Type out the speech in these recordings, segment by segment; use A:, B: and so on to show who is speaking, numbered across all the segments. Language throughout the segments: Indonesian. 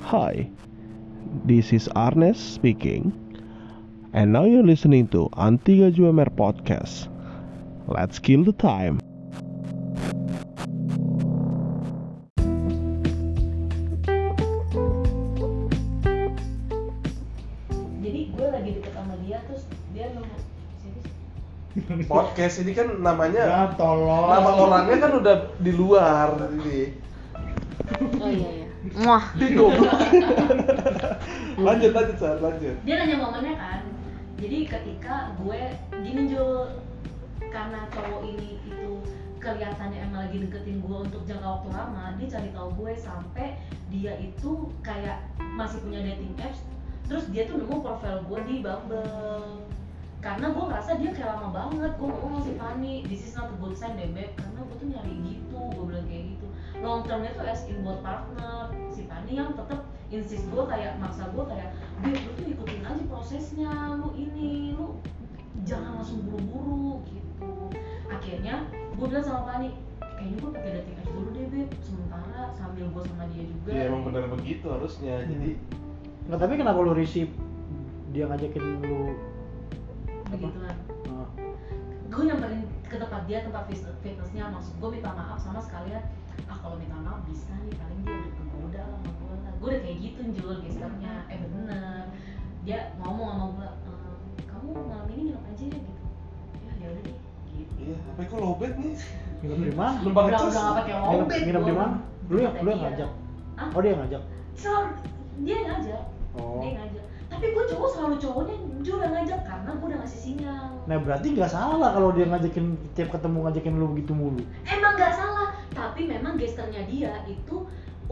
A: Hi, this is Arnes speaking, and now you're listening to Antiga Juemer Podcast. Let's kill the time.
B: jadi gue lagi deket sama dia terus dia nemu siapa sih?
C: podcast ini kan
A: Ya,
C: namanya
D: tolong.
C: nama orangnya kan udah di luar ini
B: oh iya iya
E: Muah.
C: Di goblok. lanjut lanjut Sar, lanjut
B: dia nanya momennya kan jadi ketika gue gini Jul karena cowok ini itu kelihatannya emang lagi deketin gue untuk jangka waktu lama dia cari tahu gue sampai dia itu kayak masih punya dating apps terus dia tuh nemu profil gue di Bumble karena gue ngerasa dia kayak lama banget gue ngomong masih panik this is not a good sign deh Beb. karena gue tuh nyari gitu gue bilang kayak gitu long termnya tuh as in buat partner si Pani yang tetep insist gue kayak maksa gue kayak Beb lu tuh ikutin aja prosesnya lu ini lu jangan langsung buru-buru gitu akhirnya gue bilang sama Pani kayaknya gue pakai dating apps dulu deh Beb sementara sambil gue sama dia juga
D: Iya,
C: ya emang benar begitu harusnya jadi
D: Nggak, tapi kenapa lu risih dia ngajakin lu
B: begituan
D: Nah,
B: gue nyamperin ke tempat dia tempat fitness- fitnessnya maksud gue minta maaf sama sekalian ah kalau minta maaf bisa nih paling dia udah kegoda lah sama gue lah gue udah kayak gitu jual gesternya eh bener dia ngomong sama gue "Ehm, kamu malam ini nginep aja ya gitu ya ya udah deh gitu
C: iya apa kok lobet nih
D: nginep di mana?
C: lembang
B: Ah, udah
C: cas
B: udah nggak pakai
D: Nginep,
B: obet
D: nginep di
B: gua.
D: mana? Lu yang lu yang
B: Iya.
D: ngajak.
B: Hah?
E: Ah.
D: Oh, dia yang ngajak.
B: selalu dia yang ngajak
D: Oh.
B: dia yang ngajak tapi gue cowok selalu cowoknya dia udah ngajak karena gue udah ngasih sinyal
D: Nah, berarti nggak salah kalau dia ngajakin tiap ketemu ngajakin lu begitu mulu.
B: emang nggak salah tapi memang gesternya dia itu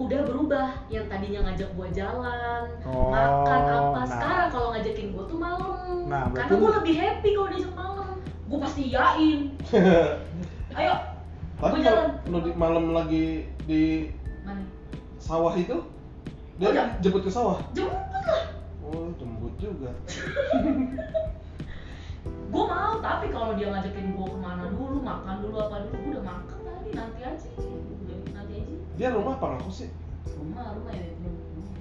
B: udah berubah yang tadinya ngajak gua jalan
D: Oh,
B: makan apa
D: nah.
B: sekarang kalau ngajakin gua tuh malam
D: Nah, berarti
B: karena gua
D: lu-
B: lebih happy kalau diajak malam gua pasti yain ayo gua
C: tapi
B: jalan
C: kalau lu di malam lagi di
B: mana
C: sawah itu
B: Oh, iya.
C: dia jemput ke sawah
B: jemput lah
C: oh jemput juga
B: gua mau tapi kalau dia ngajakin gua kemana dulu makan dulu apa dulu gua udah makan tadi nanti aja nanti aja
C: dia rumah apa ngaku sih
B: rumah rumah ya rumah.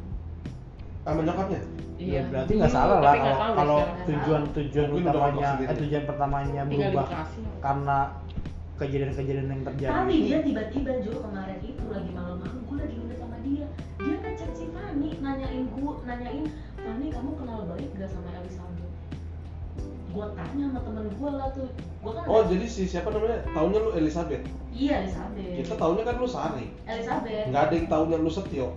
C: sama nyokapnya
D: Ya, berarti nggak salah
E: Iya.
D: lah
E: Tapi nggak
D: kalau
E: tahu
D: kalau
E: deh sekarang.
D: tujuan tujuan
C: Mungkin udah
D: utamanya
C: ngomong sendiri.
D: eh, tujuan pertamanya
E: Tinggal
D: berubah
E: dikasih. ya.
D: karena kejadian-kejadian yang
C: Ya,
D: terjadi.
B: Tapi
C: gitu.
B: dia tiba-tiba Jo kemarin itu lagi malam-malam gue lagi nginep sama dia. Dia ngechat si Fani nanyain gue, nanyain Fani kamu kenal baik gak sama Elisandro? Gue tanya sama temen gue lah tuh, gue kan
C: oh jadi si siapa namanya Taunya lu Elizabeth
B: iya Elizabeth.
C: kita taunya kan lu Sari
B: Elizabeth.
C: nggak ada yang taunya lu Setio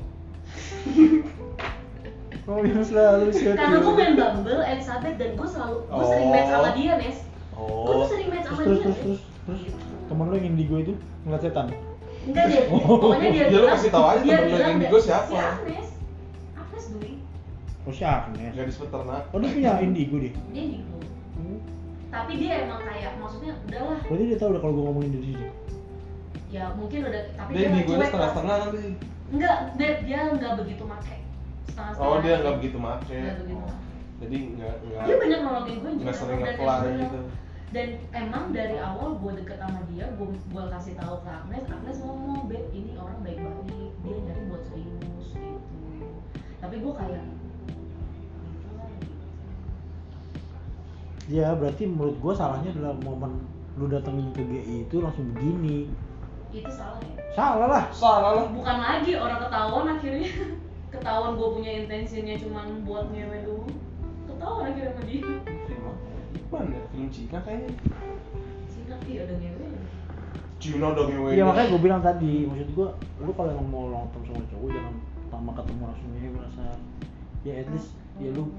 D: Oh, iya, selalu siap.
B: Karena gue main Bumble, Elizabeth dan gue selalu gue sering
C: Oh.
B: match sama dia, Nes. Gue
C: oh
B: tuh sering match
D: terus
B: sama
D: terus
B: dia.
D: terus
B: Nes.
D: terus terus temen lu yang indigo itu ngeliat setan
B: Enggak deh, pokoknya dia
C: Ya, lu kasih tahu aja
B: dia
C: temen lu yang
B: bilang
C: indigo
B: da-
C: siapa.
B: Si Agnes. Agnes Dwi,
D: oh si Agnes
C: gadis peternak
D: oh dia punya indigo deh
B: dia indigo. Tapi dia emang kayak maksudnya udahlah
D: berarti dia tahu udah kalau gue ngomongin dari sini
B: ya mungkin udah tapi
C: dia
B: dia
C: di gue
B: cuek lah.
C: setengah-setengah nanti
B: Enggak, dia, dia enggak begitu make setengah
C: Oh dia nggak begitu make.
B: Nggak begitu.
C: Oh. Jadi nggak nggak
B: Dia banyak nolongin gue juga
C: nggak sering
B: dan
C: apply
B: emang-
C: gitu.
B: Dan emang dari awal gue deket sama dia, gue gue kasih tahu ke Agnes, Agnes ngomong, Beb ini orang baik-baik, dia nyari buat serius gitu. Tapi gue kayak gitu lah, gitu.
D: ya berarti menurut gue salahnya adalah momen lu datengin ke GI itu langsung begini
B: itu salah ya
D: salah lah
C: Salah lah.
B: bukan lagi orang ketahuan akhirnya ketahuan gue punya intensinya cuman buat ngewe dulu ketahuan akhirnya sama dia
C: Film apa? Mana? ya, Film Cina kayaknya.
B: Cina iya udah ngewe
C: Cina dong yang
B: Iya,
D: ya makanya gue bilang tadi maksud gue lu kalau emang mau long term sama cowok jangan pertama ketemu langsung ya merasa ya at least ya lu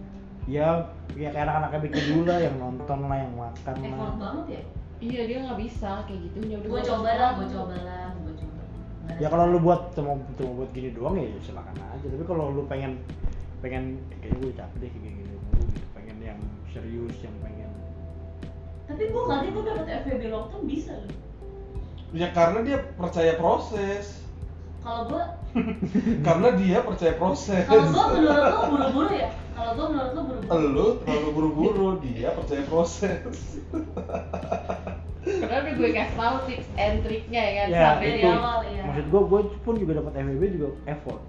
D: ya ya kayak anak-anaknya bikin dulu lah yang nonton lah yang makan lah
B: effort banget ya
E: Iya dia nggak bisa kayak gitu. Ya udah
B: gue
E: gua
B: coba
E: kasih
B: lah
E: tahu.
B: gue coba lah gue coba Nggak ada
D: ya kalau lu buat cuma cuma buat gini doang ya silakan aja tapi kalau lu pengen pengen ya kayaknya gue capek deh kayak gini mulu gitu pengen yang serius yang pengen
B: tapi gue kali gue dapet FVB long term bisa loh
C: Ya karena dia percaya proses.
B: kalau gue
C: karena dia percaya proses.
B: kalau gue menurut lo buru-buru ya kalau gue menurut
D: Oh,
B: lo buru-buru
C: Elu terlalu buru-buru, dia percaya proses.
E: Padahal udah gue kasih tau tips and triknya ya kan
D: Ya,
E: sampai
B: dari
D: itu.
E: dia
B: awal ya
D: maksud gue gue pun juga dapat FWB juga effort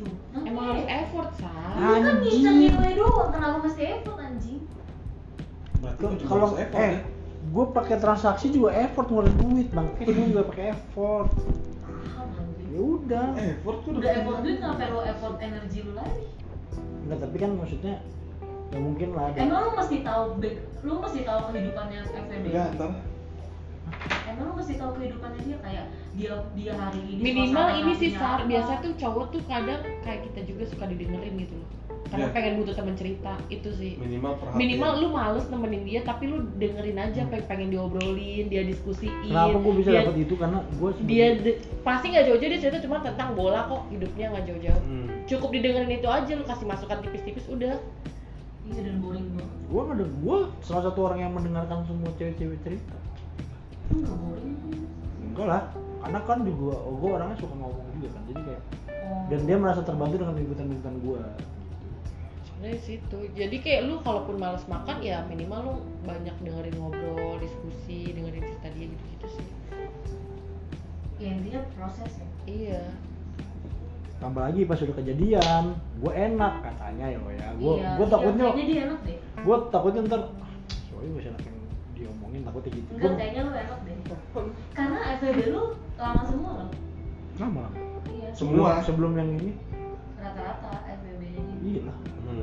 B: Tuh,
E: emang
B: makanya.
E: harus effort sah.
B: Lu kan
D: Anjing.
B: ngincer nilai doang, kenapa mesti effort anjing?
C: Berarti lu juga
D: kalau
C: harus effort
D: eh
C: ya.
D: gue pakai transaksi juga effort ngeluarin duit bang kan gue nggak pakai effort
B: Paham anjing.
D: ya udah
C: eh, Effort tuh
B: Udah effort duit ngapain lo effort energi lu lagi?
D: nggak tapi kan maksudnya ya mungkin lah ada
B: Emang lu mesti tahu back- lu mesti tahu kehidupannya FVB.
C: Enggak, ntar
B: Emang lu mesti tahu kehidupannya dia kayak dia dia hari ini
E: Minimal
B: suasana
E: ini sih
B: hatinya
E: sar
B: apa.
E: biasa tuh cowok tuh kadang kayak kita juga suka didengerin gitu loh. Karena
C: Iya.
E: pengen butuh teman cerita itu sih.
C: minimal ya. perhatian.
E: Minimal lu males nemenin dia tapi lu dengerin aja apa yang pengen diobrolin, dia diskusiin.
D: kenapa gue bisa
E: dia-
D: dapat itu karena gue
E: dia de- pasti nggak jauh-jauh dia cerita cuma tentang bola kok hidupnya nggak jauh-jauh
C: Hmm.
E: cukup didengerin itu aja lu kasih masukan tipis-tipis udah
B: Iya dan boring banget.
D: gue nggak ada gue salah satu orang yang mendengarkan semua cewek-cewek cerita
B: Lu nggak boring.
D: enggak lah karena kan juga gue orangnya suka ngomong juga kan jadi kayak
B: Oh.
D: dan dia merasa terbantu dengan libutan-libutan gue
E: sebenarnya di situ jadi kayak lu kalaupun males makan ya minimal lu banyak dengerin ngobrol diskusi dengerin cerita dia gitu gitu sih
B: ya intinya proses ya.
E: iya
D: tambah lagi pas udah kejadian gue enak katanya ya lo ya gue
B: Iya,
D: gue
B: iya,
D: takutnya
B: kayaknya dia enak deh.
D: gue takutnya ntar soalnya gue enak yang diomongin takutnya gitu
B: Enggak,
D: gue
B: kayaknya lu enak deh. Karena FVB lu lama semua loh.
D: lama lama
B: Iya,
C: Semua.
D: sebelum yang ini
B: rata-rata FVB-nya gitu.
D: iya lah
C: Hmm.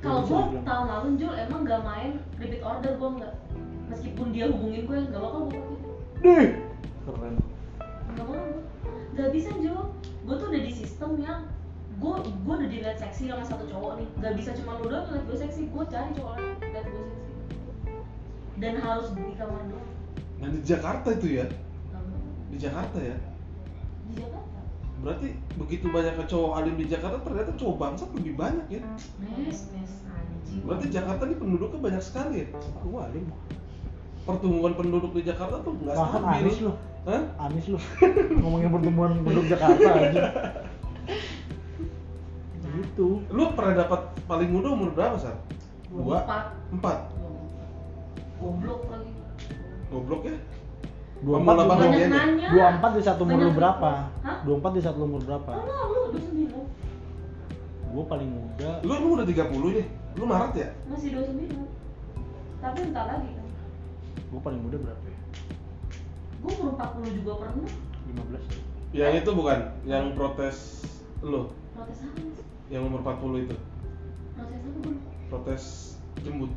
B: Kalau
D: Bisa
B: gue
D: dibilang.
B: tahun lalu Jul emang gak main repeat order gue nggak. Meskipun dia hubungin gue nggak bakal gue pakai.
D: deh keren
B: Nggak mau gue. Gak bisa Jul. Gue tuh udah di sistem yang gue gue udah dilihat seksi sama satu cowok nih. Gak bisa cuma lu doang ngeliat gue seksi. Gue cari cowok lain ngeliat gue seksi. Dan harus di kamar doang.
C: Nah di Jakarta itu ya,
B: Nggak mau.
C: di Jakarta ya.
B: Di Jakarta.
C: Berarti begitu banyak cowok alim di Jakarta ternyata cowok bangsat lebih banyak ya.
B: Mes mes anjing.
C: Berarti Jakarta ini penduduknya banyak sekali ya.
D: gue alim
C: Pertumbuhan penduduk di Jakarta tuh nggak
D: Makan
C: stabil.
D: anis lu.
C: Hah?
D: anis lu ngomongin pertemuan penduduk Jakarta aja gitu
C: Lu pernah dapat paling muda umur berapa, Sar?
B: Dua
C: Dua,
B: empat.
C: empat.
B: Dua empat. Goblok lagi.
C: Goblok ya?
D: dua
C: Pemula
D: empat
C: banget.
B: Banyak
C: dia deh.
B: nanya.
D: dua empat di satu umur lu
B: Banyak-
D: berapa
B: Hah?
D: dua empat di satu umur berapa
B: Tahun lalu dua sembilan.
D: gue paling muda
C: Lu emang udah 30 ya? Lu Maret ya?
B: masih 29 tapi entar lagi kan
D: gue paling muda berapa ya
B: gue umur 40 juga pernah
D: lima belas
C: Yang itu bukan, yang protes lu,
B: protes apa
C: yang umur 40 itu.
B: protes apa gue
C: Protes jembut.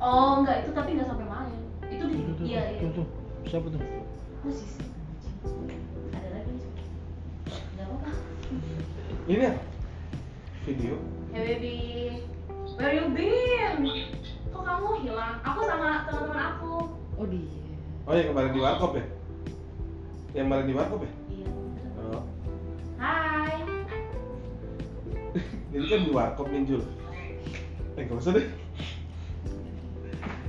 B: oh enggak itu tapi enggak sampai main itu di
D: itu tuh
B: iya iya
D: tuh, tuh siapa tuh
B: posisi anjing. ada lagi nih nggak apa-apa
C: Ini apa? Video.
B: hey Ya, baby where you been kok kamu hilang aku sama teman-teman aku
E: oh dia
C: Oh yang kemarin di warkop ya? Yang kemarin di warkop ya?
B: iya
C: Oh.
B: hai
C: Jadi kan di warkop minjul. Eh gak usah deh,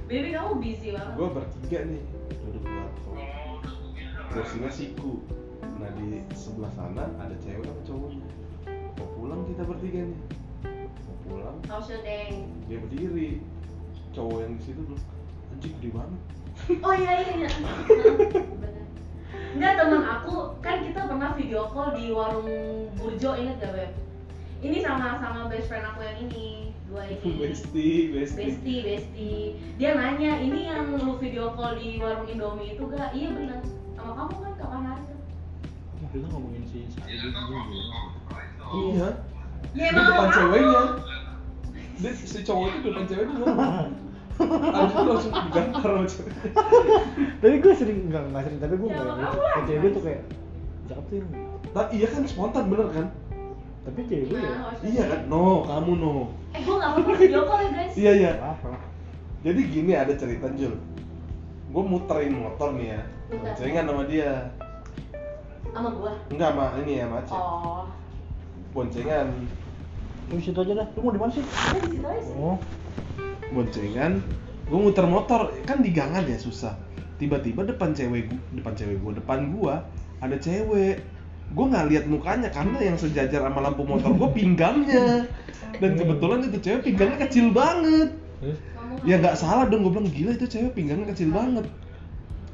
B: baby kamu busy banget
C: gue bertiga nih duduk di warkop. Kursinya siku. Nah di sebelah sana ada cewek sama cowoknya. Mau pulang kita bertiga nih. Mau pulang
B: how's your day
C: dia berdiri. Cowok yang di situ bilang, anjing gede banget.
B: Oh iya iya iya. Bener. Enggak teman aku kan kita pernah video call di warung Burjo inget gak Beb? Ini sama sama best friend aku yang ini dua ini.
C: Besti, besti.
B: Iya. Besti, besti. Dia nanya, ini yang lu video call di warung Indomie itu gak? Iya bener. Sama kamu kan kapan aja?
D: kita ngomongin si Sandi gitu
C: Iya.
B: Ya
C: Di
B: emang
C: depan
B: sama kamu.
C: ceweknya. Dia si cowok itu di depan ceweknya ngomong.
D: Ah,
C: Abis itu langsung digantar sama cewek.
D: tapi gue sering nggak nggak sering tapi gue
B: Ya,
D: kayak
B: makanya lah.
D: kayak cewek gue tuh kayak cakep tuh ini."
C: Nah, iya kan spontan bener kan?
D: tapi cewek gue ya
B: Gimana, how's your
C: Iya
B: day?
C: kan? No, kamu no.
B: Eh gue gak pernah video call ya guys.
C: Iya iya.
D: apa apa
C: Jadi gini ada cerita Jul. Gue muterin motor nih ya.
B: Muter.
C: Boncengan sama dia.
B: Sama gua.
C: Enggak sama ini ya, sama Aceh.
B: Oh.
C: Boncengan.
D: lu situ aja dah lu mau di mana sih
B: Ada di situ aja sih.
D: oh
C: Boncengan. Gue muter motor kan di gangan ya susah. Tiba-tiba depan cewek gu- depan cewek gue, depan gua ada cewek. Gue nggak lihat mukanya karena yang sejajar sama lampu motor gue pinggamnya. Dan kebetulan itu cewek pinggamnya kecil banget.
D: terus
B: Kamu
C: ya nggak salah dong gue bilang gila itu cewek pinggangnya kecil banget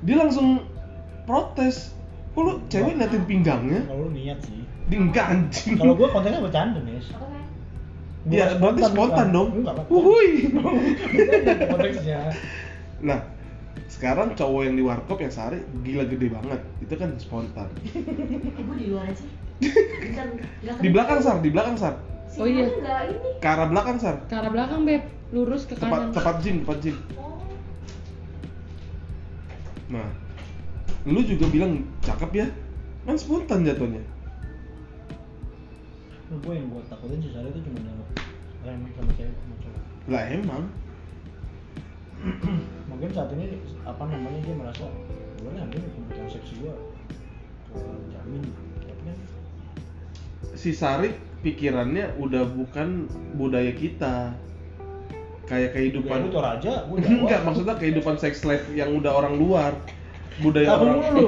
C: dia langsung protes kok lu cewek ngeliatin pinggangnya
D: Kalau lu niat sih.
C: di enggak anjing
D: Kalau gua kontennya bercanda, Nes.
B: Apa kan?
D: Bukan
C: ya berarti spontan
D: bukan.
C: dong
D: Enggak, bukan.
C: wuhui
D: Bukan dari konteksnya.
C: nah sekarang cowok yang di warkop yang sehari gila gede banget itu kan spontan
B: Ibu Eh, di luar aja. Bukan, nggak
C: di belakang sar di belakang sar
B: Si
E: Oh, iya.
B: Manu nggak ini.
C: ke arah belakang sar
E: Ke arah belakang, Beb. Lurus ke kanan.
C: tepat tepat jin tepat jin
B: Oh,
C: nah lu juga bilang cakep ya kan spontan jatuhnya
D: Nah, gua yang buat takutin si Sarah itu cuma nengok remeh sama cewek sama cowok.
C: lah emang
D: Mungkin saat ini apa namanya dia merasa gue nanti kebutuhan seksi gua jamin. Tapi kan
C: si Sari pikirannya udah bukan budaya kita kayak
D: budaya lu
C: kehidupan
D: tuh raja, kan, gua Jawa.
C: enggak maksudnya kehidupan sex life yang udah orang luar budaya
D: Tahu
C: orang
D: lu.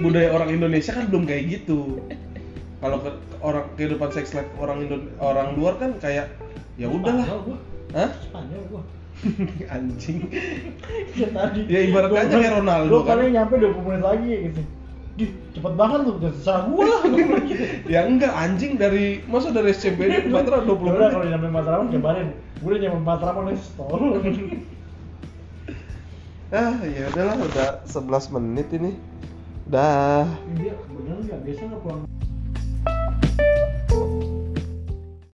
C: budaya orang Indonesia kan belum kayak gitu kalau ke, orang kehidupan sex life orang Indo- orang luar kan kayak ya udahlah
D: Spanyol gua.
C: Hah?
D: Spanyol gua.
C: anjing
D: Ya tadi.
C: Ya, ibarat
D: Gua
C: aja
D: paling-
C: kayak Ronaldo,
D: gua
C: kan?
D: paling nyampe 20 menit lagi gitu. Dih, cepet banget lu, jangan salah gua lah. Gua bilang gitu.
C: ya enggak anjing dari masa dari SCBD ke Batra
D: Yaudah,
C: 20
D: Ya kalau
C: menit
D: nyampe Matraman kabarin. Gue udah nyampe Matraman nih, tol.
C: ah ya udahlah udah 11 menit ini dah
D: Dia bener Iya, nggak biasa nggak pulang.